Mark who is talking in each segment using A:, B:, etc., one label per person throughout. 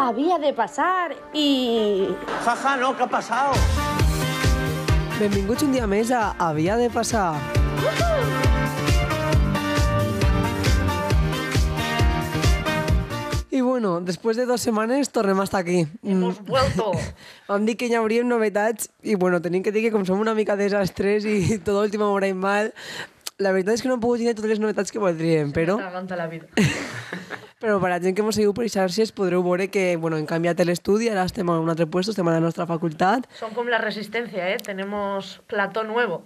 A: Había de pasar y...
B: Jaja, no, ¿qué ha pasado?
C: Benvinguts un dia més a Havia de passar. I bueno, després de dues setmanes tornem a estar aquí. Mm,
D: Hemos vuelto.
C: Vam dir que hi hauríem novetats i bueno, tenim que dir que com som una mica desastres i tot l'última hora i mal, la veritat és que no hem pogut tindre totes les novetats que voldríem, però...
D: S'aguanta la vida.
C: Però per a gent que mos seguiu per xarxes podreu veure que bueno, hem canviat l'estudi, ara estem a un altre puesto, estem a la nostra facultat,
D: Son como la resistencia, ¿eh? Tenemos plató nuevo.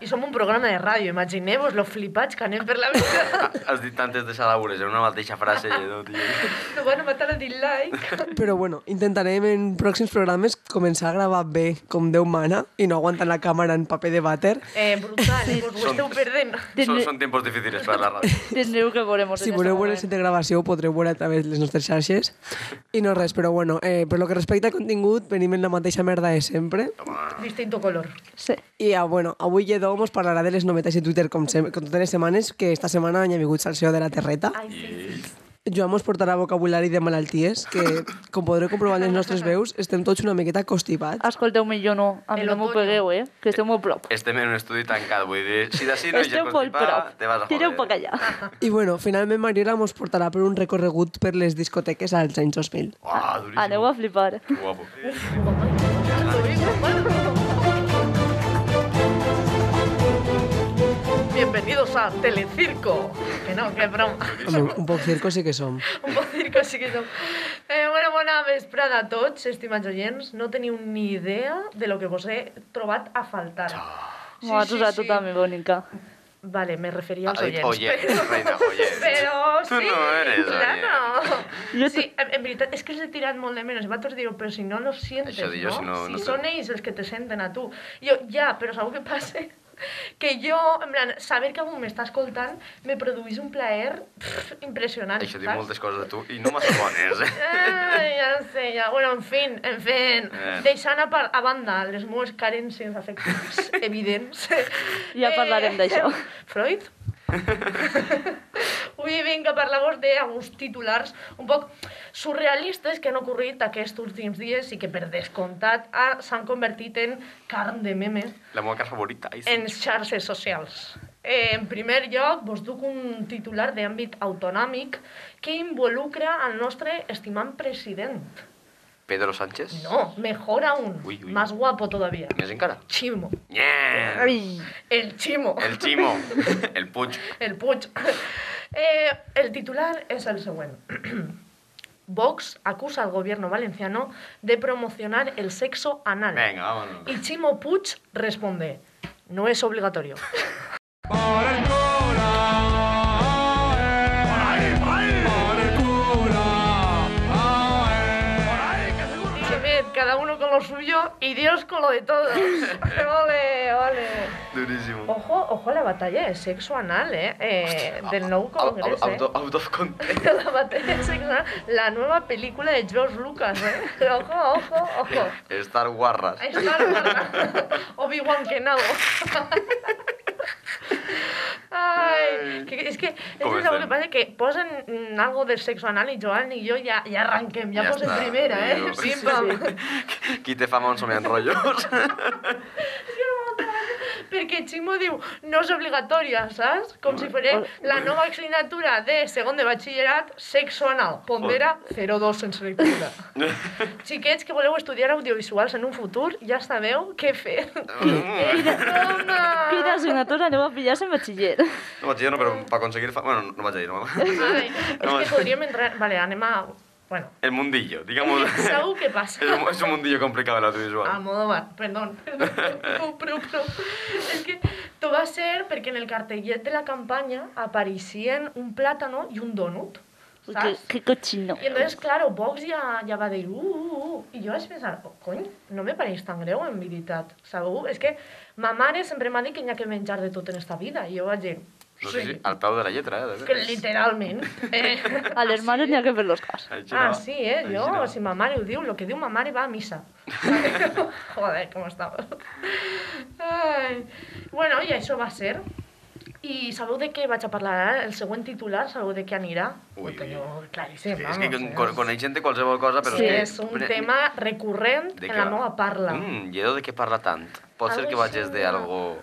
D: y somos un programa de radio. Imaginemos los flipats que anem per la vida.
E: Has dit tantes desalabures en una mateixa frase. Jo, tio.
D: No van a matar el dislike.
C: Però bueno, intentarem en pròxims programes començar a gravar bé, com Déu mana, i no aguantant la càmera en paper de vàter.
D: Eh, brutal, eh? Pues ho
E: Són-
D: esteu perdent.
E: Són, són tiempos difíciles per la ràdio.
F: Tendreu que veuremos
C: Si voleu veure set de gravació ho podreu veure a través de les nostres xarxes. I no res, però bueno, eh, per lo que respecta al contingut, venim en la mateixa merda de sempre.
D: Distinto color.
F: Sí.
C: I ah, bueno, avui Lledó mos parlarà de les novetats de Twitter com, sem com totes les setmanes, que esta setmana hi ha vingut Salseo de la Terreta.
D: Ai, sí.
C: Joan mos portarà vocabulari de malalties, que, com podreu comprovar en les nostres veus, estem tots una miqueta constipats.
F: Escolteu-me, jo no. A mi
D: El
F: no m'ho
D: otoño.
F: pegueu, eh? Que esteu molt prop.
E: Estem en un estudi tancat, vull dir, si d'ací no hi ha
F: Esteu molt prop.
E: te vas a
F: Tireu poc
E: joder.
F: allà.
C: I bueno, finalment Mariola mos portarà per un recorregut per les discoteques als anys 2000.
E: Ah, duríssim.
F: Aneu a flipar.
E: Guapo.
D: Bienvenidos a Telecirco. Que no, que broma.
C: Home, un poc circo sí que som.
D: un pot dir que sí que som. Eh, bueno, bona vesprada a tots, estimats oients. No teniu ni idea de lo que vos he trobat a faltar.
E: Ah.
F: Sí, M'ho has usat sí, tota mi bonica.
D: Vale, me refería a los
E: Ha dit
D: oients.
E: oients, reina, oients.
D: Però
E: Tu
D: sí,
E: no eres
D: clar, no.
F: Jo
D: Sí, en, en veritat, és que els he tirat molt de menys. I vosaltres diu, però si no los sientes,
E: Això dic
D: no?
E: jo, si no- no
D: sí,
E: te-
D: són ells els que te senten a tu. I jo, ja, però sabeu què passa? Que jo, en plan, saber que algú m'està escoltant me produeix un plaer pff, impressionant.
E: Això diu
D: saps?
E: moltes coses de tu i no m'escones, eh?
D: Ai, Ah, ja ho sé, ja. Bueno, en fin, en fin.
E: Eh.
D: Deixant a, par a banda les meves carències afectives evidents. Eh,
F: Ja parlarem d'això.
D: Freud? Avui vinc a parlar-vos d'alguns titulars un poc surrealistes que han ocorrit aquests últims dies i que, per descomptat, ha- s'han convertit en carn de meme
E: La meva casa favorita. Ai, sí.
D: en xarxes socials. Eh, en primer lloc, vos duc un titular d'àmbit autonòmic que involucra al nostre estimant president.
E: Pedro Sánchez?
D: No, mejor aún,
E: Ui, ui.
D: más guapo todavía.
E: Més encara?
D: Chimo,
E: Yeah!
D: el Chimo,
E: El Chimo. El Puig.
D: el Puig. Eh, el titular és el següent. Vox acusa al gobierno valenciano de promocionar el sexo anal.
E: Venga, vámonos.
D: Y Chimo Puig responde, no es obligatorio.
E: eh. eh.
D: Y bien, cada uno con lo suyo y Dios con lo de todos. ole, ole.
E: Durísimo.
D: Ojo, ojo a la batalla de sexo anal, eh, eh, del nou
E: Au- au-
D: congrés, eh.
E: Out, out of context.
D: La batalla de sexo anal, la nueva película de George Lucas, eh. Ojo, ojo, ojo.
E: Estar guarras.
D: Ahí está la barra. Obi-Wan Kenobi. Ay, que, es que
E: Com
D: esto es algo
E: estem?
D: que pasa que posan mm, algo de sexo anal y Joan y yo ya, ya arranquem, ya,
E: Ja
D: posen
E: està,
D: primera, ¿eh?
E: tio.
D: Sí,
E: Sí,
D: pam.
E: Qui té fama on som en rotllos?
D: Perquè Ximo diu, no és obligatòria, saps? Com si fos la nova assignatura de segon de batxillerat, sexo anal. Pondera 02 sense lectura. Xiquets que voleu estudiar audiovisuals en un futur, ja sabeu què fer. Home!
F: Quina assignatura aneu a pillar en batxiller?
E: No vaig dir, no, però per aconseguir... Fa... Bueno, no vaig dir, no.
D: Ai,
E: No,
D: és que podríem entrar... Vale, anem a... Bueno,
E: El mundillo, digamos.
D: sabeu què passa? Ah,
E: Es un, es un mundillo complicado el
D: A
E: audiovisual.
D: modo bar, perdón. Prou, prou, prou. És que tot va ser perquè en el cartellet de la campanya apareixien un plàtano i un donut.
F: Que,
D: Saps?
F: que cochino.
D: I entonces, claro, Vox ja, ja va dir, uh, uh, uh, i jo vaig pensar, oh, cony, no me pareix tan greu, en veritat, sabeu? És que ma mare sempre m'ha dit que hi ha que menjar de tot en esta vida, i jo vaig dir,
E: No sé si al peu de la lletra, eh? de
D: que
E: veres.
D: literalment. Eh,
F: A les mares n'hi ha que fer los cas.
E: Així
D: Ah,
E: no.
D: sí, eh?
E: Així
D: Jo,
E: no.
D: si ma mare ho diu, lo que diu ma mare va a missa. Joder, com estava. Ai. Bueno, i això va ser. I sabeu de què vaig a parlar ara? El següent titular, sabeu de què anirà? Ho
E: Ui.
D: tengo
E: Sí,
D: claríssim,
E: és que con,
D: eh?
E: con, coneix gent de qualsevol cosa, però...
D: Sí,
E: que-
D: és un tema recurrent
E: de
D: en
E: què
D: la
E: va?
D: meva parla.
E: Mm, i de què parla tant? Pot ser
D: Algo
E: que vages de
D: sembla-
E: algo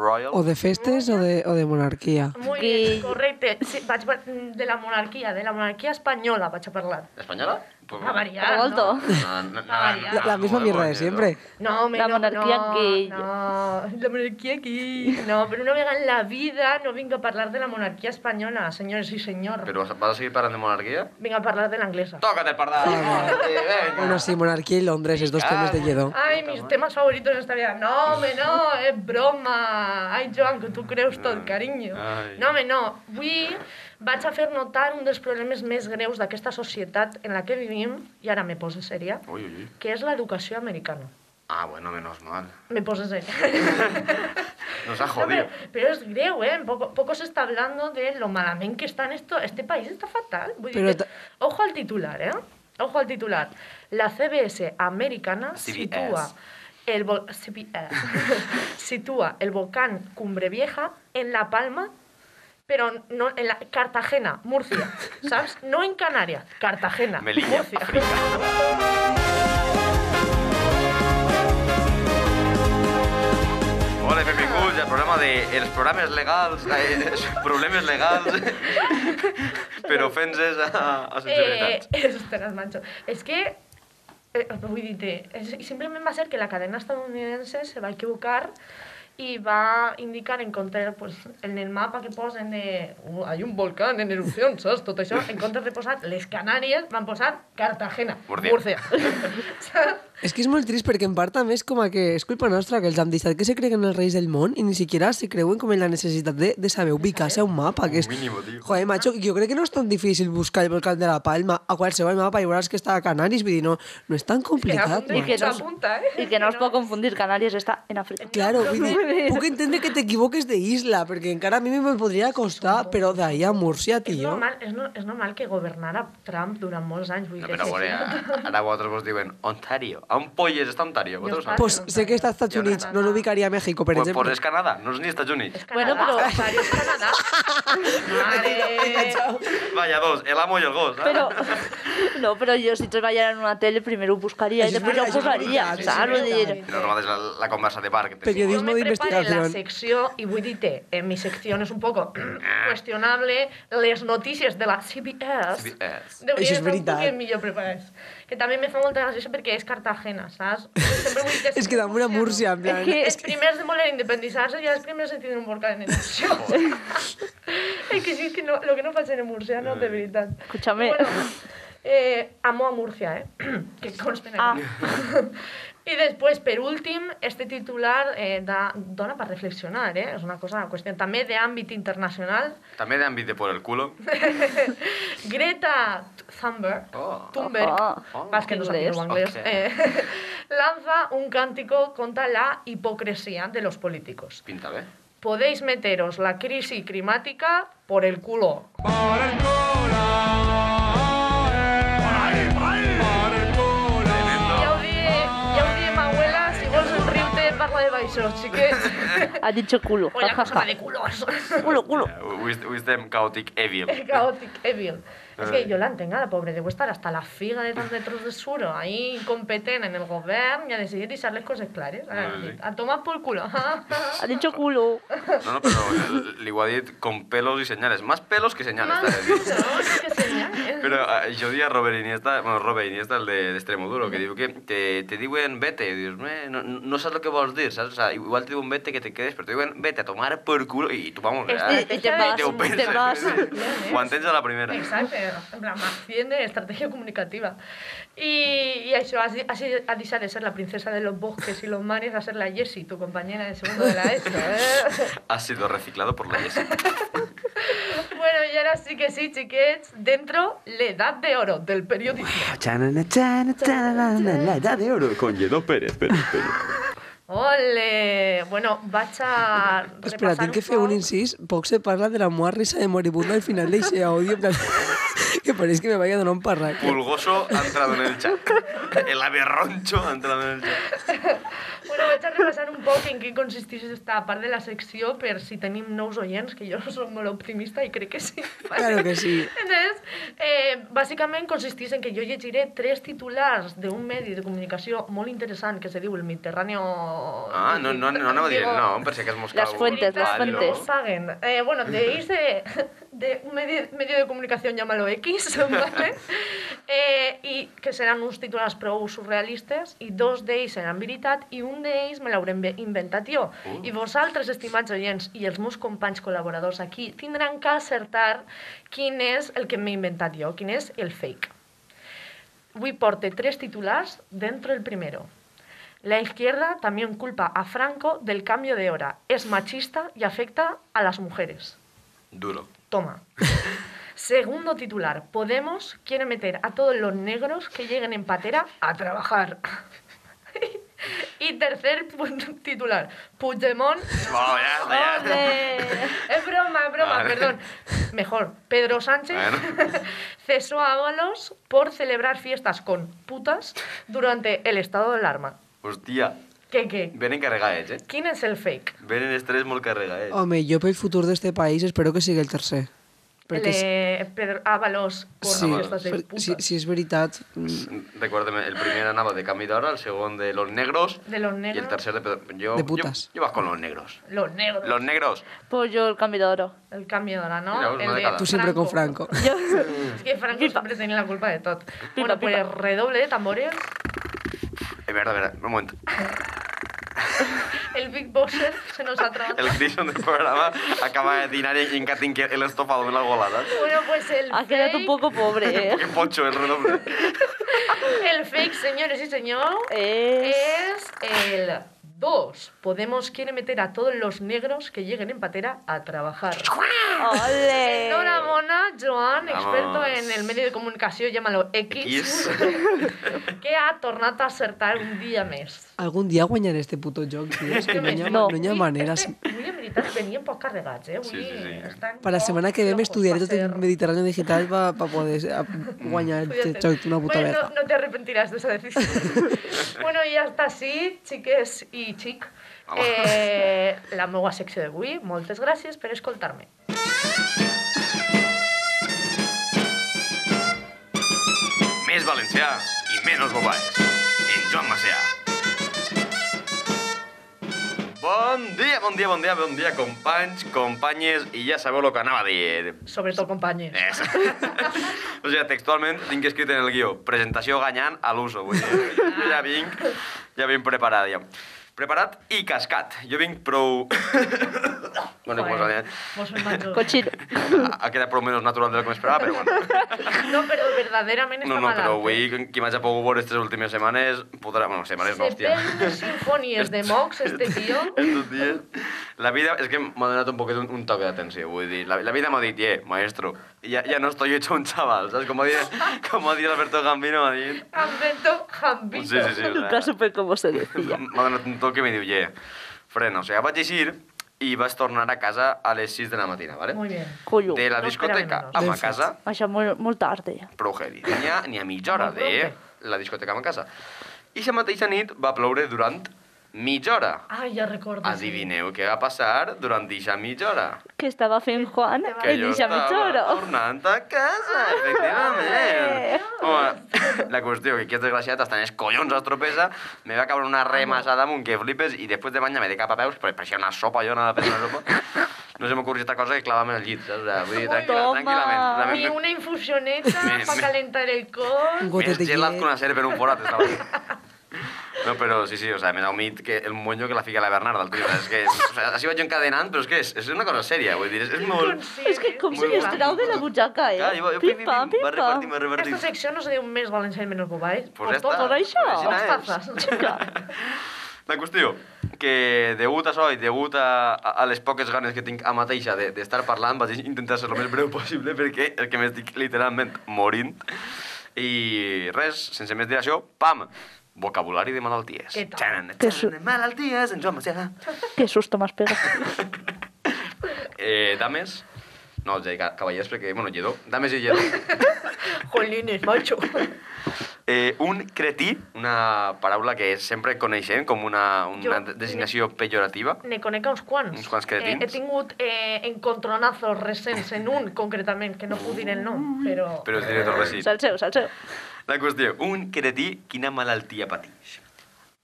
E: royal?
C: O de festes o de, o de monarquia.
D: Muy
F: Gui-
D: bien, correcte. Sí, vaig va- de la monarquia, de la monarquia espanyola vaig a parlar.
E: Espanyola? Pues,
D: A variar,
F: Revolto.
D: no?
E: No, no, no,
D: La-
E: no,
C: La, la
E: no,
C: misma
E: no,
C: mierda
E: no,
C: de siempre.
D: No, home,
F: La
D: no,
F: monarquia
D: no,
F: gay.
D: No, la monarquia aquí. No, però una vegada en la vida no vinc a parlar de la monarquia espanyola, senyores i senyors.
E: Però vas, vas a seguir parlant de monarquia?
D: Vinc a parlar de l'anglesa.
E: Toca't el pardal! Sí, venga.
C: Bueno, sí, monarquía y Londres, es dos temas de Lledó.
D: Ay, mis temas favoritos en esta vida. No, home, no, es broma. Ay, Joan, que tu creus tot, carinyo.
E: Mm, Ai.
D: No, home, no. Avui vaig a fer notar un dels problemes més greus d'aquesta societat en la que vivim, i ara me poso seria,
E: Ui, ui, ui.
D: que és l'educació americana.
E: Ah, bueno, menos mal.
D: Me poso seria.
E: Nos ha
D: No, pero,
E: jodido.
D: pero es greu, ¿eh? Poco, poco se está hablando de lo malamente que está en esto. Este país está fatal. Vull dir
C: Però
D: que-
C: ta-
D: Ojo al titular, ¿eh? Ojo al titular. La CBS americana
E: CBS.
D: sitúa el, vol- CBS. sitúa el volcán Cumbre Vieja en La Palma, pero no en la Cartagena, Murcia, ¿sabes? No en Canarias, Cartagena,
E: Melilla,
D: Murcia.
E: África. Hola, benvinguts al programa de els programes legals, eh, problemes legals, però ofenses a,
D: Eh,
E: a sensibilitats.
D: ostras, macho. Es que, eh, vull dir-te, és- simplement va ser que la cadena estadounidense se va equivocar i va indicar en compte, pues, en el mapa que posen de... Uh, hay un volcán en erupció, saps? Tot això, en comptes de posar les Canàries, van posar Cartagena,
E: Murcia.
D: Murcia. Saps?
C: És que és molt trist perquè en part també és com a que és culpa nostra que els han deixat que se creguen els reis del món i ni siquiera se creuen com en la necessitat de, de saber ubicar-se a un mapa. Que és...
E: Un mínimo, tio.
C: Joder, macho, jo crec que no és tan difícil buscar el volcán de la Palma a qualsevol mapa i veuràs que està a Canaris, vull dir, no, no és tan complicat.
D: apunta,
C: Que
F: I que, no,
D: Mucha punta, eh?
F: I que no es pot confundir, Canàries està en Àfrica.
C: Claro, vull dir, puc entendre que t'equivoques d'isla, perquè encara a mi me podria costar, però d'ahir a Múrcia,
D: És
C: tio.
D: normal, és, no, és normal que governara Trump durant molts anys. Vull
E: No,
D: dir
E: però a veure, a- ara vosaltres vos diuen Ontario. On polles està Ontario? Vosaltres
D: Jo
E: ho
C: Pues sé que està als Estats Units, no l'ubicaria a México, per
E: sabeu. Pues, pues
C: exemple.
E: és Canadà, no és ni Estats Units.
F: Bueno,
D: Canadá,
F: però-
D: Ontario és Canadà. Mare...
E: Vaya dos, el amo i el gos. eh?
F: Però, no, però jo si treballara en una tele primer ho buscaria i
C: Això és
F: després ja ho
C: veritat, això és
F: posaria,
C: veritat, això és
F: saps? Vull dir,
D: veritat.
E: No, no, és la, la conversa de bar que tenim.
C: Periodisme.
D: Yo me preparo en la
C: d'investigación.
D: secció y voy dir en mi sección es un poco cuestionable, les notícies de la CBS.
E: CBS.
D: Deuria
C: Això és
D: estar un
C: veritat.
D: poquet millor preparats. Que també me fa molta gràcia perquè és Cartagena, saps? Sempre vull dir
C: És que dame una Múrcia, en plan...
F: És que-
D: Els primers de voler independitzar-se i els primers de tindre un volcán en erupció. és que sí, és que no, lo que no passa en Murcia, no, de veritat.
F: Escúchame.
D: Bueno, eh, amo a Murcia, eh? que consten
C: Ah,
D: aquí.
F: Ah,
D: I després, per últim, este titular eh, da, dona per reflexionar, eh? És una cosa, una qüestió també d'àmbit internacional.
E: També d'àmbit de por el culo.
D: Greta Thunberg,
E: Oh.
D: Thunberg,
F: Oh,
E: oh.
D: vas que no sabia
F: Inglés.
D: anglès,
E: Ok.
D: eh, lanza un cántico contra la hipocresía de los políticos.
E: Pinta ¿eh? bé.
D: Podéis meteros la crisis climática por el culo. Ja ho diem, ja ho diem, abuela, si vols riure, parla de baixos, sí que...
F: ha dit culo,
D: Hoy la cosa
F: jajaja.
D: va de culos.
F: Culo, culo.
E: Avui, avui estem caòtic evil.
D: Chaotic Evil. Es que yo la entenc, la pobre, deu estar hasta la figa de tant de tros de suro, ahí incompetent en el govern i a decidir deixar les coses clares. A,
E: Sí, sí.
D: a tomar por culo.
F: Ha dit culo.
E: No, no, però li- li ho ha dit con pelos i senyales. Más pelos que senyales.
D: Más
E: t'ha de dir.
D: cosas, ¿no? que señales.
E: Però eh, jo dia Robert Iniesta, bueno, Robert Iniesta, el de- d'Extremo Duro, que diu que te, te diuen vete, i dius, "Meh, no, no saps el que vols dir, saps? O sea, igual te diuen vete que te quedes, però te diuen vete a tomar por culo i tu vamos,
D: Este-
E: eh,
D: este
E: i
D: vas,
E: te ho
D: este
E: penses.
F: vas.
E: Ho entens a la primera.
D: Exacte, ¿eh? en plan, asciende estratègia comunicativa. I, i això, has, di- has, ha deixat de ser la princesa de los bosques y los mares a ser la Jessie, tu compañera de segundo de la ESO, eh?
E: Ha sido reciclado por la Jessie.
D: Bueno, y ahora sí que sí, chiquets, dentro la edad de oro del periodismo.
B: Chanana, chana, chanana, la edad de oro con Lledó Pérez. Pérez, Pérez.
D: Ole! Bueno, vaig a...
C: Espera,
D: repassar
C: tinc que fer un
D: poc.
C: incís. Poc se parla de la meva risa de moribunda al final d'eixe audio, en plan... que pareix que me vaya a donar un parraque.
E: Pulgoso ha entrado en el chat. El ave roncho ha entrado en el chat.
D: Bueno, vaig a repassar un poc en què consisteix esta part de la secció per si tenim nous oients, que jo soc molt optimista i crec que sí. vale?
C: Claro que sí.
D: Entonces, eh, bàsicament consisteix en que jo llegiré tres titulars d'un medi de comunicació molt interessant que se diu el Mediterráneo...
E: Ah, no, no, no, no a dir el nom, per si que has moscat
F: Las fuentes, las
E: algo.
F: fuentes.
D: Nos paguen. Eh, bueno, de ese de un medio, medio de comunicación, llámalo X, ¿vale? Eh, y que seran uns titulars prou surrealistes i dos d'ells seran veritat i un d'ells me l'hauré inve- inventat jo. Uh. I vosaltres, estimats oients, i els meus companys col·laboradors aquí tindran que acertar quin és el que m'he inventat jo, quin és el fake. Avui porte tres titulares dentro del primero. La izquierda también culpa a Franco del cambio de hora. Es machista y afecta a las mujeres.
E: Duro.
D: Toma. Segundo titular. Podemos quiere meter a todos los negros que lleguen en patera a trabajar. y tercer pu- titular. Puigdemont...
E: Wow, ya está, ya está.
D: Es broma, es broma,
E: Vale.
D: perdón. Mejor. Pedro Sánchez
E: Bueno.
D: cesó a Ábalos por celebrar fiestas con putas durante el estado de alarma.
E: Hostia,
D: ¿Qué, qué?
E: ven encarregades, eh?
D: ¿Quién es el fake?
E: Ven en estrés molt carregades.
C: Home, jo pel futur d'este país espero que sigui el tercer. Perquè
D: el de Pedro Ábalos con
C: sí,
D: fiestas de
C: per-
D: putas.
C: si, si és veritat... mm,
E: Recuérdame, el primer anava de canvi d'hora, el segon de los negros...
D: De los
E: Y el
D: negros.
E: tercer de... pedo- Yo,
C: De putas.
E: Yo, yo vas con los negros.
D: Los negros.
E: Los negros.
F: Pues yo el cambio de oro.
D: El cambio de hora, ¿no?
E: Mira,
D: el
E: una
D: de
E: década.
C: tu sempre con Franco.
F: Yo...
D: Es que Franco siempre tenía la culpa de todo.
F: Pipa,
D: Bueno, pues
F: pipa.
D: redoble de tambores.
E: Es verdad, verdad. Un momento.
D: El Big Boxer se nos ha trabado.
E: El Grison del programa acaba de tirar en Katin el estofado de la golada.
D: Bueno, pues el
F: Ha quedado un
D: fake-
F: poco pobre, eh.
E: Qué pocho el redoble.
D: El fake, señores y señor,
F: Es-
D: es el 2. Podemos quiere meter a todos los negros que lleguen en patera a trabajar.
F: ¡Ole!
D: Enhorabuena, Joan, experto
E: Eh, Vamos.
D: en el medio de comunicación, llámalo X,
E: X.
D: que ha tornado a acertar un dia més.
C: Algun dia guanyaré este puto joc, tio. És que no hi ha, no.
F: No.
C: no hi ha maneres.
D: Avui, en veritat, venien poc carregats, eh? Avui
E: Sí, sí, sí.
D: estan
C: Per la
D: poc
C: setmana que ve
D: flojos
C: m'estudiaré
D: pa
C: tot el
D: ser-
C: Mediterrani digital per pa poder eh, guanyar
D: Estudia't.
C: aquest joc d'una puta
D: Bueno,
C: merda.
D: No, no te arrepentirás de esa decisión. bueno, i hasta així, xiques i xic,
E: Vamos.
D: eh, la meva secció d'avui. Moltes gràcies per escoltar-me.
E: Més valencià i menys bobaes. En Joan Macià. Bon dia, bon dia, bon dia, bon dia, companys, companyes, i ja sabeu el que anava a dir.
D: Sobretot, companyes.
E: És. o sigui, textualment tinc escrit en el guió presentació ganyant a l'uso. Vull dir, jo ja vinc, ja vinc preparat, ja. Preparat i cascat. Jo vinc prou... bueno, pues com us ha
D: Joder,
E: dit,
D: mos fem majors.
F: Cochino.
E: ha ha quedat prou menys natural del que m'esperava, però bueno.
D: No, però verdaderament està
E: No, no, però
D: malalt, eh?
E: avui, qui m'hagi pogut veure aquestes últimes setmanes, podrà... Bueno, setmanes no,
D: Se
E: hòstia.
D: perd les sinfonies de Mox, este tio.
E: Estos dies... La vida... És que m'ha donat un poquet un, un toque d'atenció, vull dir. La, la vida m'ha dit, eh, maestro, ja, ja no estoy hecho un chaval, saps? Com ha dit, com ha dit Alberto Gambino, m'ha dit...
D: Alberto Gambito.
E: Sí, sí, sí. o
F: En
E: sea,
F: plan súper como se decía.
E: M'ha donat un toc que me diu, ye, frena. O sigui, vaig llegir i vaig tornar a casa a les 6 de la matina, ¿vale?
D: Muy bien.
F: Collo.
E: De la
D: No
E: discoteca
D: esperaven,
E: a
C: no.
E: ma casa,
F: Això molt, molt tard, ja.
E: prou heavy. Ni a, ni a mitja hora
D: Molt
E: de
D: profe.
E: la discoteca a ma casa. I la mateixa nit va ploure durant mitja hora.
D: Ah, ja recordo. sí.
E: Adivineu què va passar durant eixa mitja hora.
F: Què estava fent Juan
E: Que
F: en
E: jo
F: eixa
E: estava
F: mitja hora? Eh.
E: tornant a casa, efectivament. Home, la qüestió que aquest desgraciat està en els collons a estropesa, me va caure una remassada amunt que flipes i després de banyar-me de cap a peus, perquè pareixia una sopa, jo anava fent una sopa. No se m'ocorria altra cosa que clavar-me al llit, saps? O sigui, vull dir, tranquil·la,
F: Toma.
E: tranquil·lament.
D: I
E: tranquil·lament.
D: una infusioneta
E: Me-
D: para
E: me-
D: calentar el col.
C: Un gotet
E: Més
C: de
E: gelat
C: llet.
E: que una serp en un forat, estava allà. No, però sí, sí, o sea, me da un mit que el moño que la fica la Bernarda, el tio. És que, o sea, així vaig encadenant, però és que és, és una cosa sèria, vull dir, és, és molt...
F: És
D: eh?
F: que com se
E: Molt
F: li
E: guai.
F: trau de la butxaca, eh?
E: Clar, jo, jo, pim,
F: pim-pam,
E: pim, pim, va
F: pim-pam.
E: repartint, va repartint.
D: Esta secció no se diu més valencià i menys boball.
E: Pues ja
D: O tot,
E: està.
F: Per això?
E: Així
D: Dos
E: és.
D: tazes.
F: Clar.
E: La qüestió, que degut a això i degut a, a a les poques ganes que tinc a mateixa de- d'estar parlant, vaig intentar ser el més breu possible perquè el que m'estic literalment morint. I res, sense més dir això, pam! Vocabulari de malalties.
D: Què tal?
E: Txanan,
F: Que su-
E: txanan, malalties, en Joan Macià.
F: Que susto m'has pegat.
E: Eh, dames, no, ja hi ha cavallers perquè, bueno, lledó, dames i lledó.
D: Jolines, macho.
E: Eh, un cretí, una paraula que sempre coneixem com una, una
D: Jo-
E: designació pejorativa.
D: Ne conec a uns quants.
E: Uns quants cretins.
D: Eh, he tingut eh, encontronazos recents en un, concretament, que no puc dir el
F: Mm.
D: nom, però...
E: Però és director recí.
F: Salseu, salseu.
E: La qüestió, un cretí, quina malaltia pateix?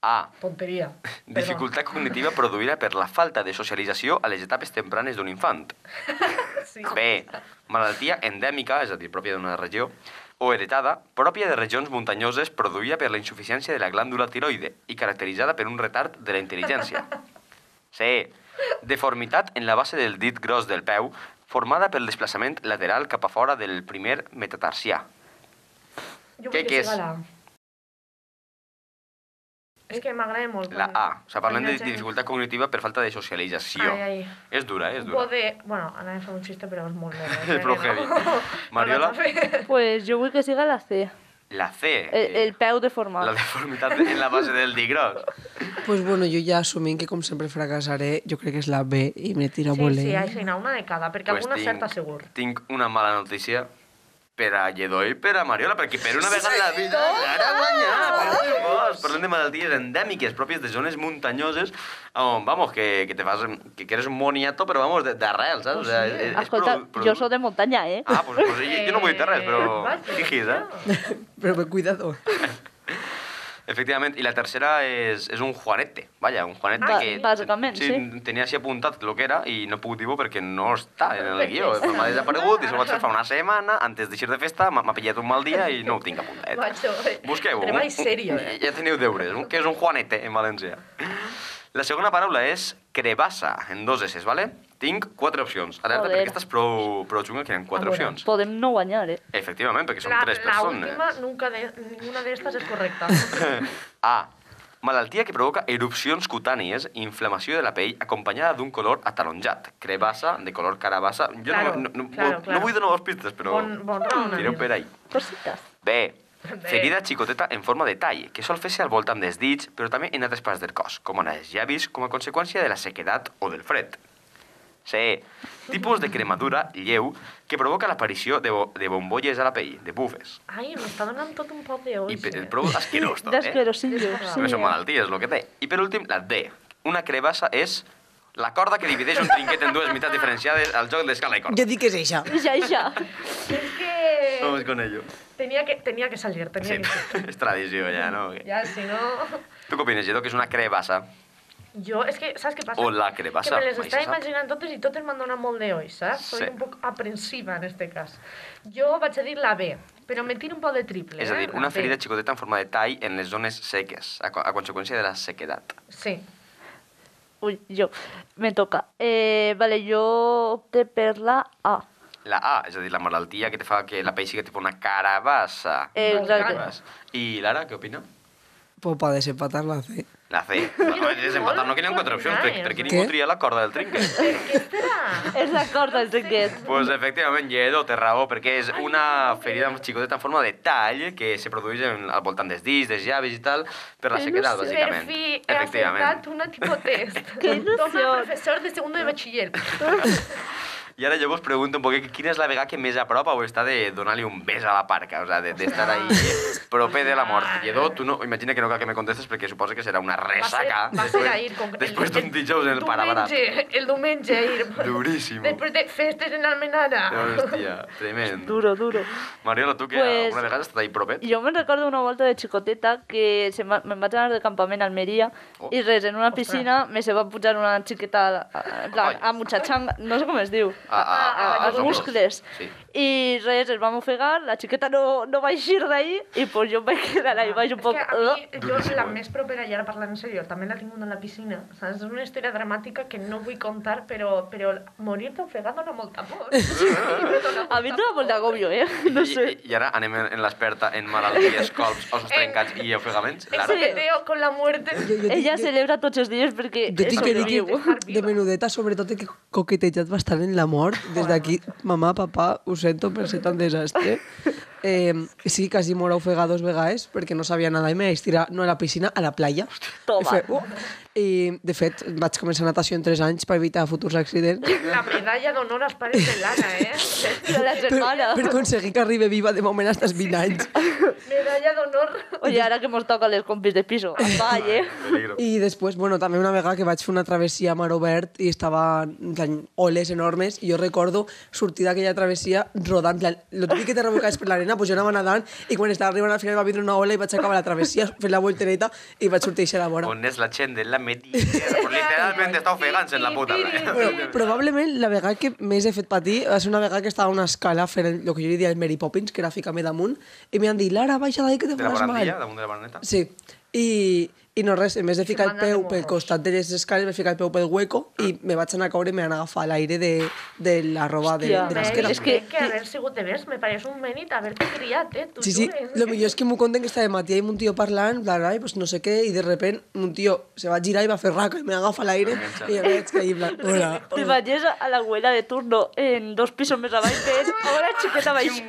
E: A.
D: Tonteria. Perdó.
E: Dificultat cognitiva produïda per la falta de socialització a les etapes tempranes d'un infant.
D: Sí.
E: B. Malaltia endèmica, és a dir, pròpia d'una regió, o heretada, pròpia de regions muntanyoses produïda per la insuficiència de la glàndula tiroide i caracteritzada per un retard de la intel·ligència. C. Deformitat en la base del dit gros del peu, formada pel desplaçament lateral cap a fora del primer metatarsià.
D: Jo vull
E: Què- què
D: que
E: és?
D: siga la... És que m'agrada molt.
E: La A. O sigui, parlem de dificultat
D: cognitiva.
E: cognitiva per falta de socialització.
D: Ai, ai.
E: És dura, eh? és dura.
D: Poder... Bueno, anava a fer un xiste, però és molt eh, negre.
E: És prou heavy. Mariola?
F: Pues jo vull que siga la C.
E: La C.
F: El, el peu deformat.
E: Eh, La deformitat en la base del dit gros.
C: Pues bueno, jo ja assumint que com sempre fracassaré, jo crec que és la B i me tiro a
D: Sí,
C: voler.
D: sí, aixina, una de cada, perquè alguna certa segur.
E: Tinc una mala notícia per a Lledó i per a Mariola, perquè per una vegada la vida ara guanyar. Per Dios, parlem de malalties endèmiques pròpies de zones muntanyoses on, vamos, que, que te fas... que, que eres un moniato, però, vamos, de- d'arrel, saps? O sea, és, és
F: Escolta,
E: produ- produ-
F: jo sóc de muntanya, eh?
E: Ah, pues, pues jo, jo no vull dir res, però...
D: Vaig,
E: Jijis, eh?
C: Però bé, cuidado.
E: Efectivament, i la tercera és, és un Juanete, vaja, un Juanete
F: Ah,
E: que...
F: sí. Bàsicament, sí.
E: Tenia així apuntat el que era i no puc dir-ho perquè no està en el
D: Perquè
E: guió.
D: està.
E: M'ha desaparegut i se'l vaig fer fa una setmana, antes d'eixir de festa, m'ha m'ha pillat un mal dia i no ho tinc apuntat.
D: Macho, eh,
E: Busqueu-ho.
D: treball
E: un- un-
D: serio, eh?
E: Ja teniu deures, un- que és un Juanete en valencià. La segona paraula és crevassa, en dos S, vale? Tinc quatre opcions. Alerta,
F: Joder.
E: perquè aquesta és prou, prou xunga, que hi ha quatre
D: Ah, bueno.
E: opcions.
F: Podem no guanyar, eh?
E: Efectivament, perquè són
D: La,
E: tres
D: la
E: persones.
D: última, nunca de, ninguna de estas es correcta.
E: A. Malaltia que provoca erupcions cutànies i inflamació de la pell acompanyada d'un color ataronjat, crevassa, de color carabassa... Jo
D: Claro,
E: no, no, no,
D: claro,
E: no,
D: claro.
E: vull donar les pistes, però...
D: Bon- bon raonament.
E: Tireu per ahí.
F: Cositas.
E: B.
D: Bé.
E: Ferida xicoteta en forma de tall, que sol fer-se al voltant dels dits, però també en altres parts del cos, com en els llavis, com a conseqüència de la sequedat o del fred. C. Tipus de cremadura lleu que provoca l'aparició de, bo de bombolles a la pell, de bufes.
D: Ai, m'està donant tot un poc de
E: I
D: oix.
E: pe-
D: eh?
E: prou asquerós, tot, eh?
F: D'esquerosillo. Sí.
E: També són malalties, el que té. I per últim, la D. Una crevassa és la corda que divideix un trinquet en dues meitats diferenciades al joc d'escala i corda.
C: Jo dic que és eixa.
F: Ja, ja.
D: És que...
E: Vamos con ello.
D: Tenía que, tenía que salir, tenía
E: Sí,
D: que salir.
E: és tradició ja, no? Okay.
D: Ya, si no...
E: Tu què opines, Lledó, que és una crevassa?
D: Jo, és que, saps què passa?
E: Hola, què li passa?
D: Que me les
E: Mai
D: estava
E: se sap.
D: imaginant totes i totes m'han donat molt d'oix, saps? Soy
E: Sí.
D: un poc aprensiva en este cas. Jo vaig a dir la B, però me tiro un poc de triple,
E: És a dir,
D: eh?
E: una
D: La B.
E: ferida xicoteta en forma de tall en les zones seques, a, co- a conseqüència de la sequedat.
D: Sí.
F: Ui, jo. Me toca. Eh, vale, jo opte per la A.
E: La A, és a dir, la malaltia que te fa que la pell sigui tipus una carabassa.
F: Exacte.
E: Carabassa. I Lara, què opina?
C: Pues para desempatar la C.
E: La C. No, desempatar, no que hi ha quatre opcions, per, perquè ningú
C: Què?
E: tria la corda del trinquet.
F: És la corda, el trinquet.
E: Pues efectivament, Lledo, té raó, perquè és una ferida xicoteta en forma de tall que se produeix en, al voltant dels dits, dels llavis i tal, per la
F: Que
E: sequedat,
F: il·lusió.
E: bàsicament.
D: Per fi he acertat una tipo test.
F: Que il·lusió.
D: Toma, professor de segundo de batxiller.
E: I ara jo vos pregunto un poquet quina és la vegada que més a prop heu estat de donar-li un bes a la parca, o sigui, de- d'estar de, ahí proper de la mort. Lledo, tu no, imagina que no cal que me contestes perquè suposa que serà una ressaca.
D: va ser ahir, com que-
E: després d'un dijous en el parabarat.
D: Diumenge, el diumenge, ahir.
E: Duríssim.
D: Després de festes en Almenara.
E: Hòstia, tremend.
F: Duro, duro.
E: Mariola, tu que
F: Pues-
E: alguna vegada has estat ahí propet?
F: Jo me'n recordo una volta de xicoteta que se ma- me'n vaig anar de campament a Almeria
E: Oh.
F: i res, en una piscina me se va pujar una xiqueta a, la- a, en plan,
E: Ai.
F: a muchachanga, no sé com es diu,
E: A- a- a- als
F: als
E: hombros.
F: muscles.
E: Sí.
F: I res, ens vam ofegar, la xiqueta no, no va eixir d'ahí i pues jo em vaig quedar ahí baix un poc... uh.
D: És Ah, que a mi, jo
E: Duríssim,
D: la
E: eh?
D: més propera, i ara parlant en sèrio, també la tinc a la piscina. Saps? És una història dramàtica que no vull contar, però, però morir-te ofegant dona molta por.
F: A mi em dona molt d'agobio, eh? No sé.
E: I, I ara anem en, en l'experta en malalties, colps, ossos trencats i ofegaments. Lara,
F: Sí.
D: Teo con la muerte.
F: Ella celebra tots els dies perquè
C: Jo tinc que dir
F: sobreviu.
C: que de menudeta, sobretot, he que coquetejat bastant en la mort. Des d'aquí, mamà, papà, ho sento per ser tan desastre. eh, sí, quasi mor ofegada dos vegades perquè no sabia nadar i me vaig tirar, no a la piscina, a la playa.
F: Toma.
C: I, fer, "Oh". I de fet, vaig començar natació en 3 anys per evitar futurs accidents.
D: La medalla d'honor als pares de l'Anna, eh?
F: De la germana.
C: per aconseguir que arribi viva de moment hasta els 20 anys.
D: Medalla d'honor.
F: Oye, ahora que hemos estado con los compis de piso, eh? vaya.
E: Peligro.
C: I després, bueno, també una vegada que vaig fer una travessia a mar obert i estava en plan, oles enormes i jo recordo sortir d'aquella travessia rodant, en plan, lo típic que te rebucaves per l'arena, pues jo anava nadant i quan estava arribant al final va vindre una ola i vaig acabar la travessia fent la voltereta i vaig sortir a la vora.
E: On és la gent de la medicina? Pues literalmente està ofegant-se en la puta. eh?
C: Bueno, probablement la vegada que més he fet patir va ser una vegada que estava a una escala fent el, el que jo li dia el Mary Poppins, que era ficar-me damunt, i m'han dit, Lara, baixa d'ahí que te
E: De la
C: faràs mal.
E: barandilla, damunt de la baroneta.
C: Sí, i, i no res, en vez de ficar el
D: mandan
C: peu
D: de
C: pel
D: mojos.
C: costat de les escales, vaig ficar el peu pel hueco i
F: Ah.
C: me vaig anar a caure i me van agafar l'aire de, de la roba de,
F: Hòstia,
C: de
F: Veus?
C: l'esquena.
F: És
D: Es
F: que-
D: que... que haver sigut de vers, me pareix un menit haver-te criat, eh? Tu
C: Sí, sí, lo millor és que m'ho conten que estava Matia amb un tio parlant, bla, bla, i pues no sé què, i de repent un tio se va girar i va fer raca i me agafa l'aire i jo vaig cair, en plan, hola,
F: Te
C: hola.
F: vayas a la abuela de turno en dos pisos más abajo y ves ahora chiqueta baixa.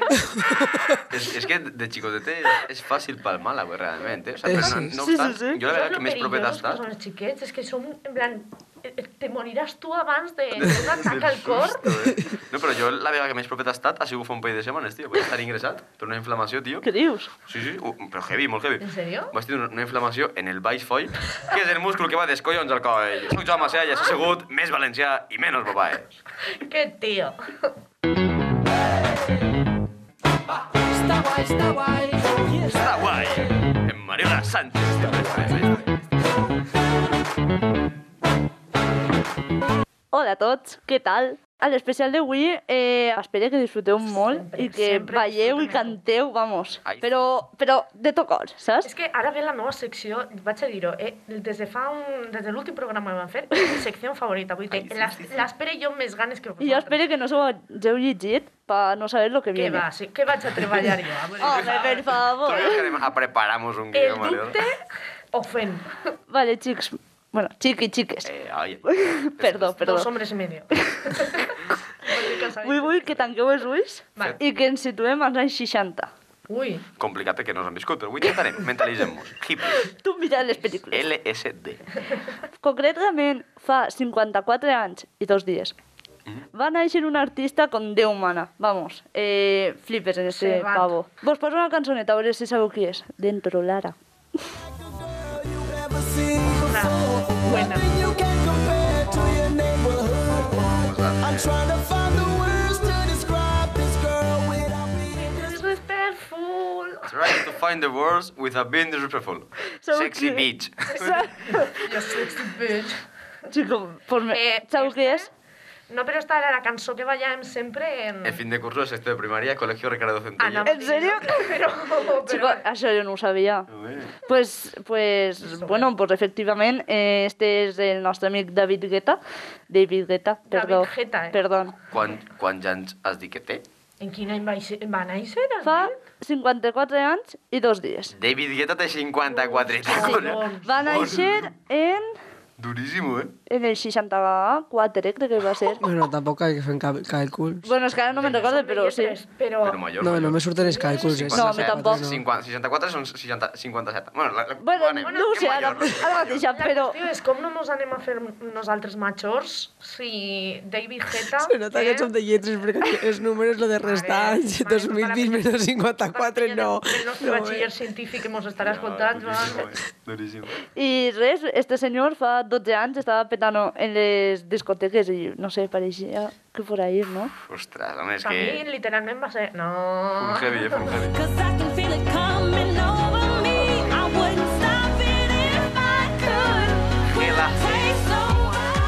E: És, és que de xicotete és fàcil palmar la güey, realment, eh? O sea,
C: Eh,
E: però
C: sí.
E: no, no
F: Sí, sí,
E: obstant,
F: sí.
E: jo la veritat que més propeta
D: que
E: estàs...
D: són els xiquets, és que som, en plan, eh, eh, te moriràs tu abans de de un atac al cor.
E: eh? No, però jo la vegada que més propeta he estat ha sigut fa un parell de setmanes, tio. Vaig estar ingressat per una inflamació, tio.
F: ¿Qué dius?
E: Sí, sí, u- però heavy, molt heavy.
D: En serio?
E: Vaig tenir una- una inflamació en el baix foll, que és el múscul que va dels collons al coll. Soc Joan Macià i això ha sigut més valencià i menys babaes.
D: Que tio.
E: Està guai! En Mariola Sánchez.
F: Hola a tots, què tal? A l'especial d'avui eh, espero que disfruteu molt
D: Sempre,
F: i que
D: sempre
F: balleu i
D: disfrutem.
F: canteu, vamos.
E: Ai.
F: Però, però de tot cor, saps?
D: És que ara ve la meva secció, vaig a dir-ho, eh? Des de fa un... Des de l'últim programa que vam fer, és mi secció favorita. Vull dir, l'es- l'espero jo amb més ganes que
F: I jo espero que no s'ho hagueu llegit per no saber el que
D: Que
F: viene.
D: va, sí, que vaig a treballar jo. a veure.
F: Home, per favor.
E: A preparamos un
D: El
E: guió, Mariola.
D: dubte ofèn.
F: Vale, xics. Bueno, xiqui, xiques.
E: Eh, ai.
F: Perdó,
D: Dos
F: perdó.
D: homes i medio. Vull dir que s'ha
F: Vull,
D: dit.
F: vull que tanqueu els ulls
D: Vale.
F: i que ens situem als anys 60.
D: Ui,
E: Complicat que no s'han viscut, però avui intentarem. Mentalitzem-nos. Hippies.
F: Tu mira les pel·lícules.
E: LSD.
F: Concretament, fa 54 anys i dos dies. Va néixer un artista con Déu mana. Vamos, eh, flipes en este
D: Serrat.
F: pavo. Vos poso una cançoneta, a veure si sabeu qui és. Dentro, Lara.
D: una buena. Disrespectful.
E: Trying to find the words without being disrespectful.
F: Sabeu
E: Sexy
F: qui-
E: bitch.
D: Yo sexy bitch.
F: Chico, pues me...
D: Eh,
F: sabeu qui és?
D: esta- No, però esta era la cançó que ballàvem sempre en...
E: El fin de curso de sexto de primaria, colegio Ricardo Centella.
D: Ana
F: ¿En serio?
D: Però, però...
F: Chico, això jo no ho sabia. Pues, pues, bueno, pues efectivament, eh, este és el nostre amic David Guetta. David Guetta,
D: David
F: perdó.
D: Guetta, eh.
F: Perdó.
E: Quan, quan ja ens has dit que té?
D: En quin any va, ser- va néixer? el
F: Fa
D: Bill?
F: 54 anys i dos dies.
E: David Guetta té 54 tacos.
F: Va néixer en...
E: Durísimo, eh?
F: En el 64, crec que va ser.
C: Bueno, tampoc cal que fem cap, càlculs.
F: Bueno, és que ara no me'n recordo, però sí.
D: Tres, Però...
E: Però mayor.
C: No, no me surten els càlculs. eh?
F: No, a mi tampoc.
E: 50, 64 són 60, 57. Bueno, la, la,
F: Bueno,
E: anem.
F: no ho sé, ara, ara mateix,
D: La
F: però...
D: qüestió és com no mos anem a fer nosaltres majors si David Guetta...
C: Se nota que som de lletres perquè els números, lo de restar anys, 2020 menos 54, no.
D: El nostre
C: no, eh?
D: batxiller científic que mos estarà escoltant, Joan.
E: Durísimo, eh?
F: I res, este senyor fa 12 anys estava petant en les discoteques i, no sé, pareixia que fora ahir, no?
E: Ostres, home, és
D: A mi,
E: que...
D: literalment, va ser... No...
E: Un heavy, eh? Un heavy.
G: Cause I can feel it coming over me. I wouldn't stop it if I could. When I taste so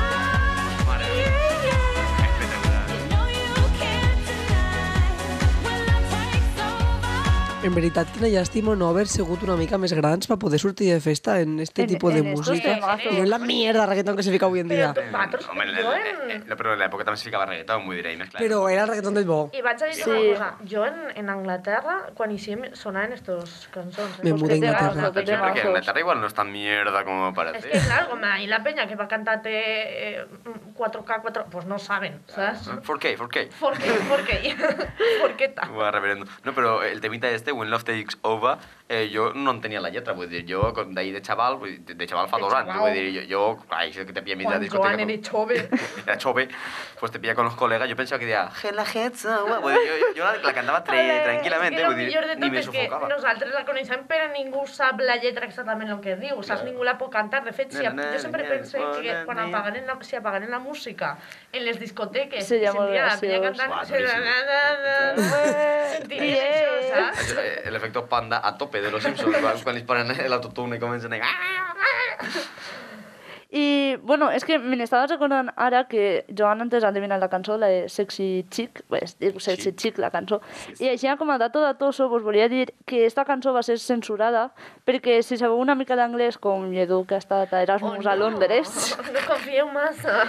G: high,
E: Mare de Déu.
G: yeah, yeah.
E: Espectacular.
G: You know you can't deny. When I taste so high.
C: En veritat, quina llàstima no haver sigut una mica més grans per poder sortir de festa en este
F: En-
C: tipus de
F: en estos
C: música.
F: temazos.
C: I no en la mierda de reggaeton que se fica avui en dia.
D: Però- Nosaltres,
E: Home, en la-
D: jo
E: eh, eh,
D: en...
E: no, però en l'època també es ficava reggaeton, vull dir, eh, i més clar.
C: Però eh, era el reggaeton del bo.
D: I vaig a dir
F: Sí.
D: una cosa, jo en, en Anglaterra, quan hi sem sonaven estos cançons... Eh?
C: Me
F: Pues
C: mudé a
F: que te vas,
C: Inglaterra.
F: lo que te
E: Yo creo que
F: vas.
E: Inglaterra igual no es tan mierda como
D: Es que,
E: parece.
D: claro, como ahí la peña que va a cantarte eh, 4K, 4 pues no saben, ¿sabes?
E: ¿Por qué? ¿Por qué?
D: ¿Por qué? ¿Por qué? ¿Por qué tal?
E: Buah, reverendo. No, però el temita este, When Love Takes Over, eh, jo no en tenia la lletra, vull dir, jo con- d'ahir de xaval, vull dir, de xaval fa
D: De
E: dos anys,
D: xaval.
E: vull dir, jo, jo ai, això que te pilla a mitjà
D: Juan
E: discoteca,
D: Joan era
E: com-
D: chove.
E: era chove, pues te pilla con los colegas, jo pensava que deia, Hela Heads, pues, vull dir, jo, jo la, la cantava tre,
F: Ole,
D: És
E: tranquil·lament, eh,
D: que el
E: vull
D: millor de
E: dir, ni
D: tot
E: me
D: és que
E: sufocava.
D: nosaltres la coneixem però ningú sap la lletra exactament el que diu, saps? Ningú la pot cantar. De fet, si,
E: Na, na,
D: jo sempre
E: na,
D: penso
E: na,
D: que
E: na,
D: quan
E: na.
D: apagaren la, si apagaren la música en les discoteques
F: Seria
D: i sentien
F: molt
D: la penya
F: graciós.
D: cantant...
E: Buah,
D: se-
E: duríssim.
D: na, na, na, na, Senties això,
F: Yeah.
D: saps?
E: Això, eh, El efecto panda a tope de los Simpsons, quan- quan li paren l'autotune i comencen a dir... "Ah!"
F: Y bueno, es que me estaba recordando ahora que Joan antes adivinat la cançó, la de Sexy Chic, pues, diu Sexy
E: Chic.
F: Chic, la cançó, i així com a dato datoso vos volia dir que esta cançó va ser censurada perquè si sabeu una mica d'anglès com Edu que ha estat a
D: Oh,
F: Erasmus a
D: no.
F: Londres,
D: No confieu massa.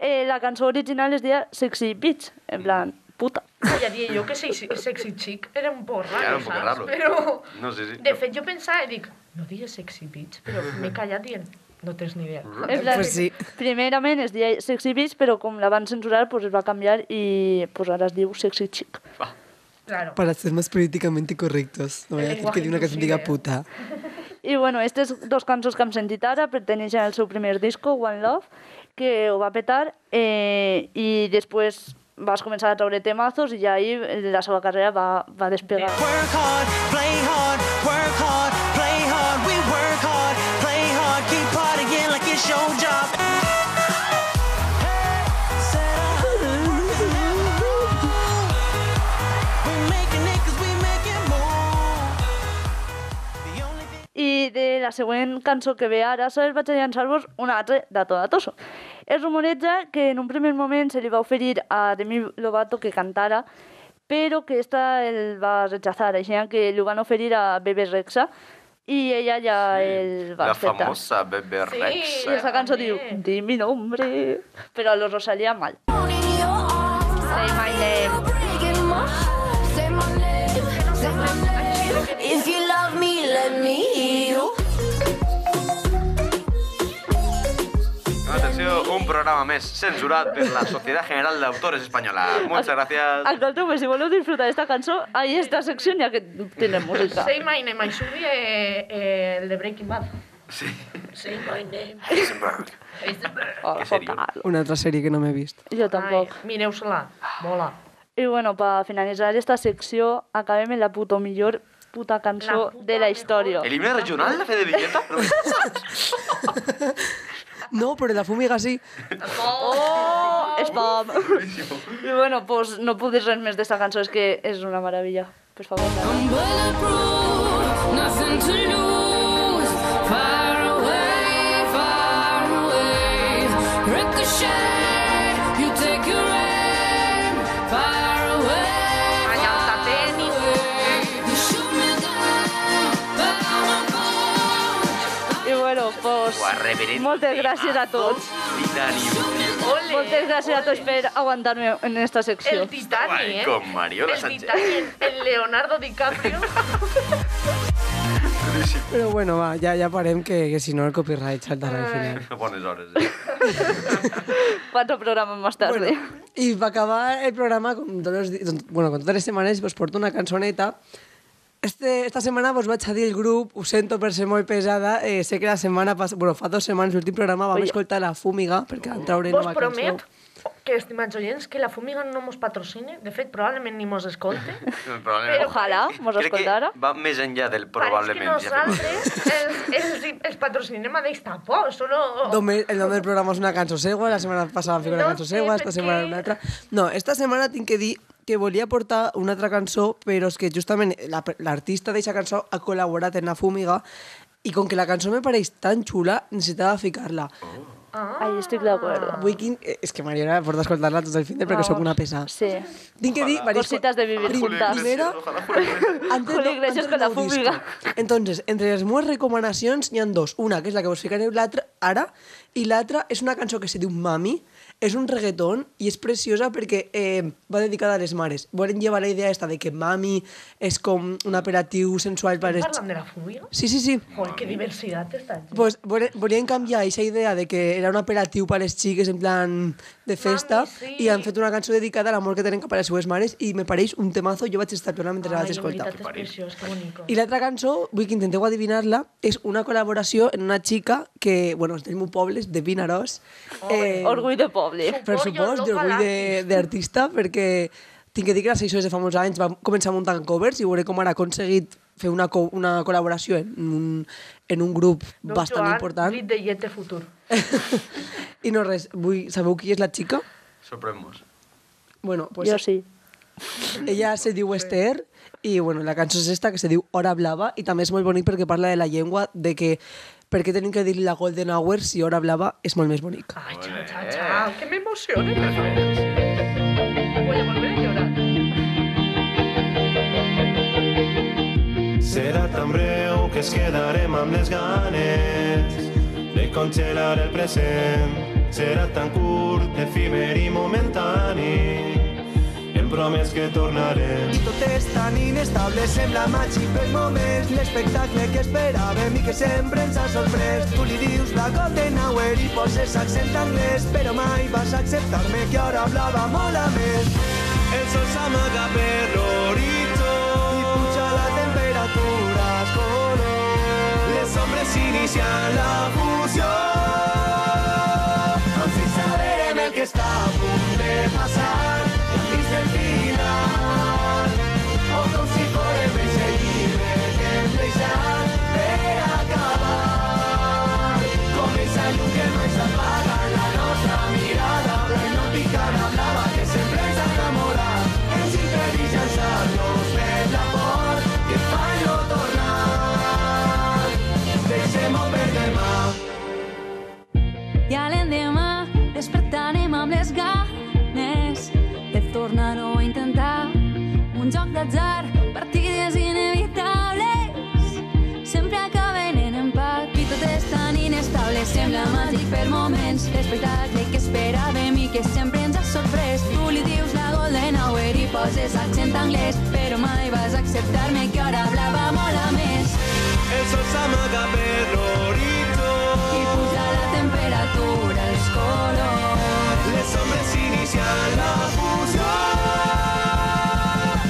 F: eh, la cançó original es deia Sexy Bitch, en plan, puta.
D: Ja diria jo que sexy, sexy chic era un poc raro,
E: Era un poc
D: saps?
E: raro.
D: Però...
E: No, sí, sí.
D: De fet, jo pensava i dic, no diré sexy bitch, però m'he callat dient, no tens ni idea.
E: Mm-hmm.
D: Eh,
F: En plan,
C: Pues sí.
F: Primerament es deia Sexy Bitch, però com la van censurar, pues es va canviar i pues ara es diu Sexy Chic.
D: Claro.
C: Para ser más políticamente correctos. No voy a
D: El
C: decir que di una canción
D: lenguaje
C: diga puta.
F: I bueno, aquestes dos cançons que hem sentit ara perteneixen al seu primer disco, One Love, que ho va petar eh, i després vas començar a treure temazos i ja ahir la seva carrera va, va despegar.
H: Work hard, play hard, work hard, play hard. We work hard, play hard, keep partying like it's your job. Hey, set up. We making it 'cause we making more. The only thing-
F: I de la següent cançó que ve ara sols vaig a llançar-vos un altre de Todatoso. Es rumoreja que en un primer moment se li va oferir a Demi Lovato que cantara, però que esta el va rechazar, així que li van oferir a Bebe Rexha i ella ja el va
E: La
F: acceptar.
E: famosa Bebe Rex.
F: I esa cançó diu, di mi nombre, però lo Rosalía mal.
G: Say my name. Say my name. Say my name. If you love me, let me hear you.
E: Atenció, un programa més censurat per la Societat General d'Autores Espanyola. Moltes gràcies.
F: Escolteu, si voleu disfrutar d'esta cançó, ahí esta secció ja que tenen música.
D: Say my name, I should be eh, eh, el de Breaking Bad.
E: Sí.
D: Say my name.
E: Heisenberg.
F: Oh,
E: que serio.
F: focal.
C: Una otra serie que no me he visto.
F: Jo tampoc.
D: Mireu-se-la. Mola.
F: I bueno, per finalitzar esta secció, acabem en la puto millor puta cançó
D: La puta
F: de la història.
E: El himno regional, la fe de Villeta.
C: No, pero la fumiga sí.
F: Oh, spam! I bueno, pues, no puc dir res més d'esta cançó, és que és una meravella. Per favor, no.
G: Bulletproof, nothing to lose. Far away, far away. Ricochet, you take your aim. Far away,
D: Allança-te, ningú.
G: you shoot me down, but I'm above.
F: I bueno, pues,
E: Buah, reverend
F: moltes gràcies a tots.
E: Titanium.
D: Ole.
F: Moltes gràcies a tots per aguantar-me en esta secció.
D: El Titani,
E: Guai,
D: eh?
E: con Mariola
D: el
E: Sánchez.
D: Titani, el Leonardo DiCaprio.
C: Pero bueno, va, ya, ya parem que, que si no el copyright saltará al final.
E: No bones hores, eh?
F: Quants programes més tard.
C: Bueno, y para acabar el programa, con todos los di- doncs, bueno, con todas las semanas, pues porto una canzoneta. Este, esta semana vos vaig a dir el grup, ho sento per ser molt pesada, eh, sé que la setmana passada, bueno, fa dues setmanes, l'últim programa, vam
F: Oye.
C: escoltar La Fúmiga, perquè van traure
D: Vos
C: nova
D: promet
C: cançó.
D: que, estimats oients, que la Fumiga no mos patrocine. De fet, probablement ni mos escolte.
E: Probablement.
F: Ojalà mos
E: Crec que
F: escoltara.
E: va més enllà
D: Pareix
E: del
D: que
E: probablement. ja fem.
D: nosaltres els, els, els patrocinem a d'esta por. Solo...
C: Dome, el nom del programa és una cançó seua, la setmana passada vam ficar una
D: No
C: cançó
D: sé
C: seua,
D: per
C: esta
D: què.
C: setmana una altra... No, esta setmana tinc que dir que volia portar una altra cançó, però és que justament la- l'artista d'aquesta cançó ha col·laborat en La Fúmiga i com que la cançó me pareix tan xula, necessitava ficar-la. Oh.
D: Ah,
F: Ahí estic d'acord.
C: Vull que... eh, És que Mariona, porta escoltar-la tot el fin de perquè sóc una pesa.
F: Sí.
C: Tinc que dir... diverses
F: Cositas de vivir
C: Prim-
F: juntas.
C: Primera,
E: Ojalá Julio Iglesias.
C: Antes
F: Julio
C: no-
F: Iglesias
C: antes
F: con la
C: del disco.
F: fumiga.
C: Entonces, entre les meves recomanacions n'hi han dos. Una, que és la que vos ficareu l'altra ara, i l'altra és una cançó que se diu Mami, és un reggaeton i és preciosa perquè eh, va dedicada a les mares. Volen llevar la idea esta de que mami és com un aperitiu sensual per... les-
D: Parlant de la fúria?
C: Sí, sí, sí.
D: Joder, qué diversidad esta gente.
C: Pues vole- volien canviar aquesta idea de que era un aperitiu per les xiques en plan de festa
D: Mami, sí.
C: i han fet una cançó dedicada a l'amor que tenen cap a les seves mares i me pareix un temazo, jo vaig estar plorant mentre la vaig escoltar.
D: Que preciós, que bonico.
C: I l'altra cançó, vull que intenteu adivinar-la, és una col·laboració en una xica que, bueno, és del meu poble, és de Vinaròs.
D: Oh,
C: Eh,
F: Orgull de poble.
C: Per
D: Orgullo
C: supost,
D: local
C: d'orgull de- d'artista, perquè tinc que dir que la Seixó des de fa molts anys va començar muntant covers i veuré com han aconseguit fer una, co una col·laboració en un, en un grup
D: Don
C: bastant
D: Joan,
C: important.
D: Brit de Yete Futur.
C: I no res, vull, sabeu qui és la xica?
E: Sorprendemos.
C: Bueno, pues
F: Jo sí.
C: Ella se diu Esther i bueno, la cançó és esta que se diu Hora Blava i també és molt bonic perquè parla de la llengua, de que per què tenim que dir la Golden Hour si Hora Blava és molt més bonic.
D: Ay,
E: Ole.
D: chao, chao, chao. Que me emociona. por favor. Voy a volver a llorar.
I: Serà tan breu que es quedarem amb les ganes de congelar el present. Serà tan curt, efímer i momentani. Hem promès que tornarem.
H: I tot és tan inestable, sembla màgic per moments. L'espectacle que esperàvem i que sempre ens ha sorprès. Tu li dius la Golden Hour i poses accent anglès, però mai vas acceptar-me que ara blava mola més.
I: El sol s'amaga per l'horitzó
H: I puja la temperatura, es color.
I: Les ombres inician la fusió.
H: Al fin sabrem Em el que està a punt de passar. Ja hem vist el final. O com si fórem ese llibre que hem deixat per acabar. Com esa llum que no ens apaga en la nostra mirada, la hipnòtica blava que sempre ens enamora. Ens impedeix llançar-nos per la por que fa no tornar. Deixem-ho per demà.
G: I a l'endemà despertarem amb les ganes de tornar-ho a intentar. Un joc d'atzar, partides inevitables, sempre acaben en empat. I tot és tan inestable, sembla màgic per moments. L'espectacle que esperàvem i que sempre ens ha sorprès. Tu li dius la golden hour i poses accent anglès, però mai vas acceptar-me que ara blava mola més.
I: El sol s'amaga per l'horitzó
G: I puja la temperatura, els colors.
I: Les ombres inician la fusió.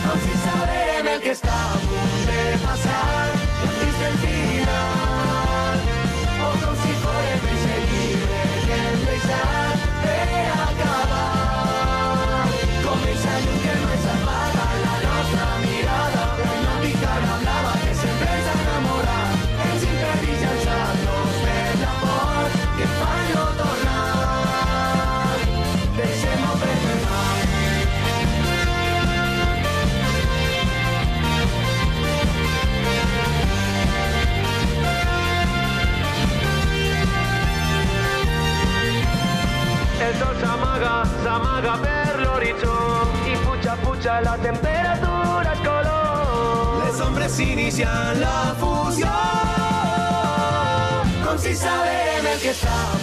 H: Al fin sabrem el que està a punt de passar. Ja hem vist el final. O com si fórem ese llibre que hem deixat per acabar. Com esa llum que no ens apaga la nostra mirada. La hipnòtica la blava que sempre ens enamora. Ens impedeix llançar-nos per la por que fa no tornar. Deixem-ho per demà.
I: El sol s'amaga, s'amaga per l'horitzó i puja, puja la temperatura es color. Les ombres inician la fusió.
H: Com si sabrem el que està a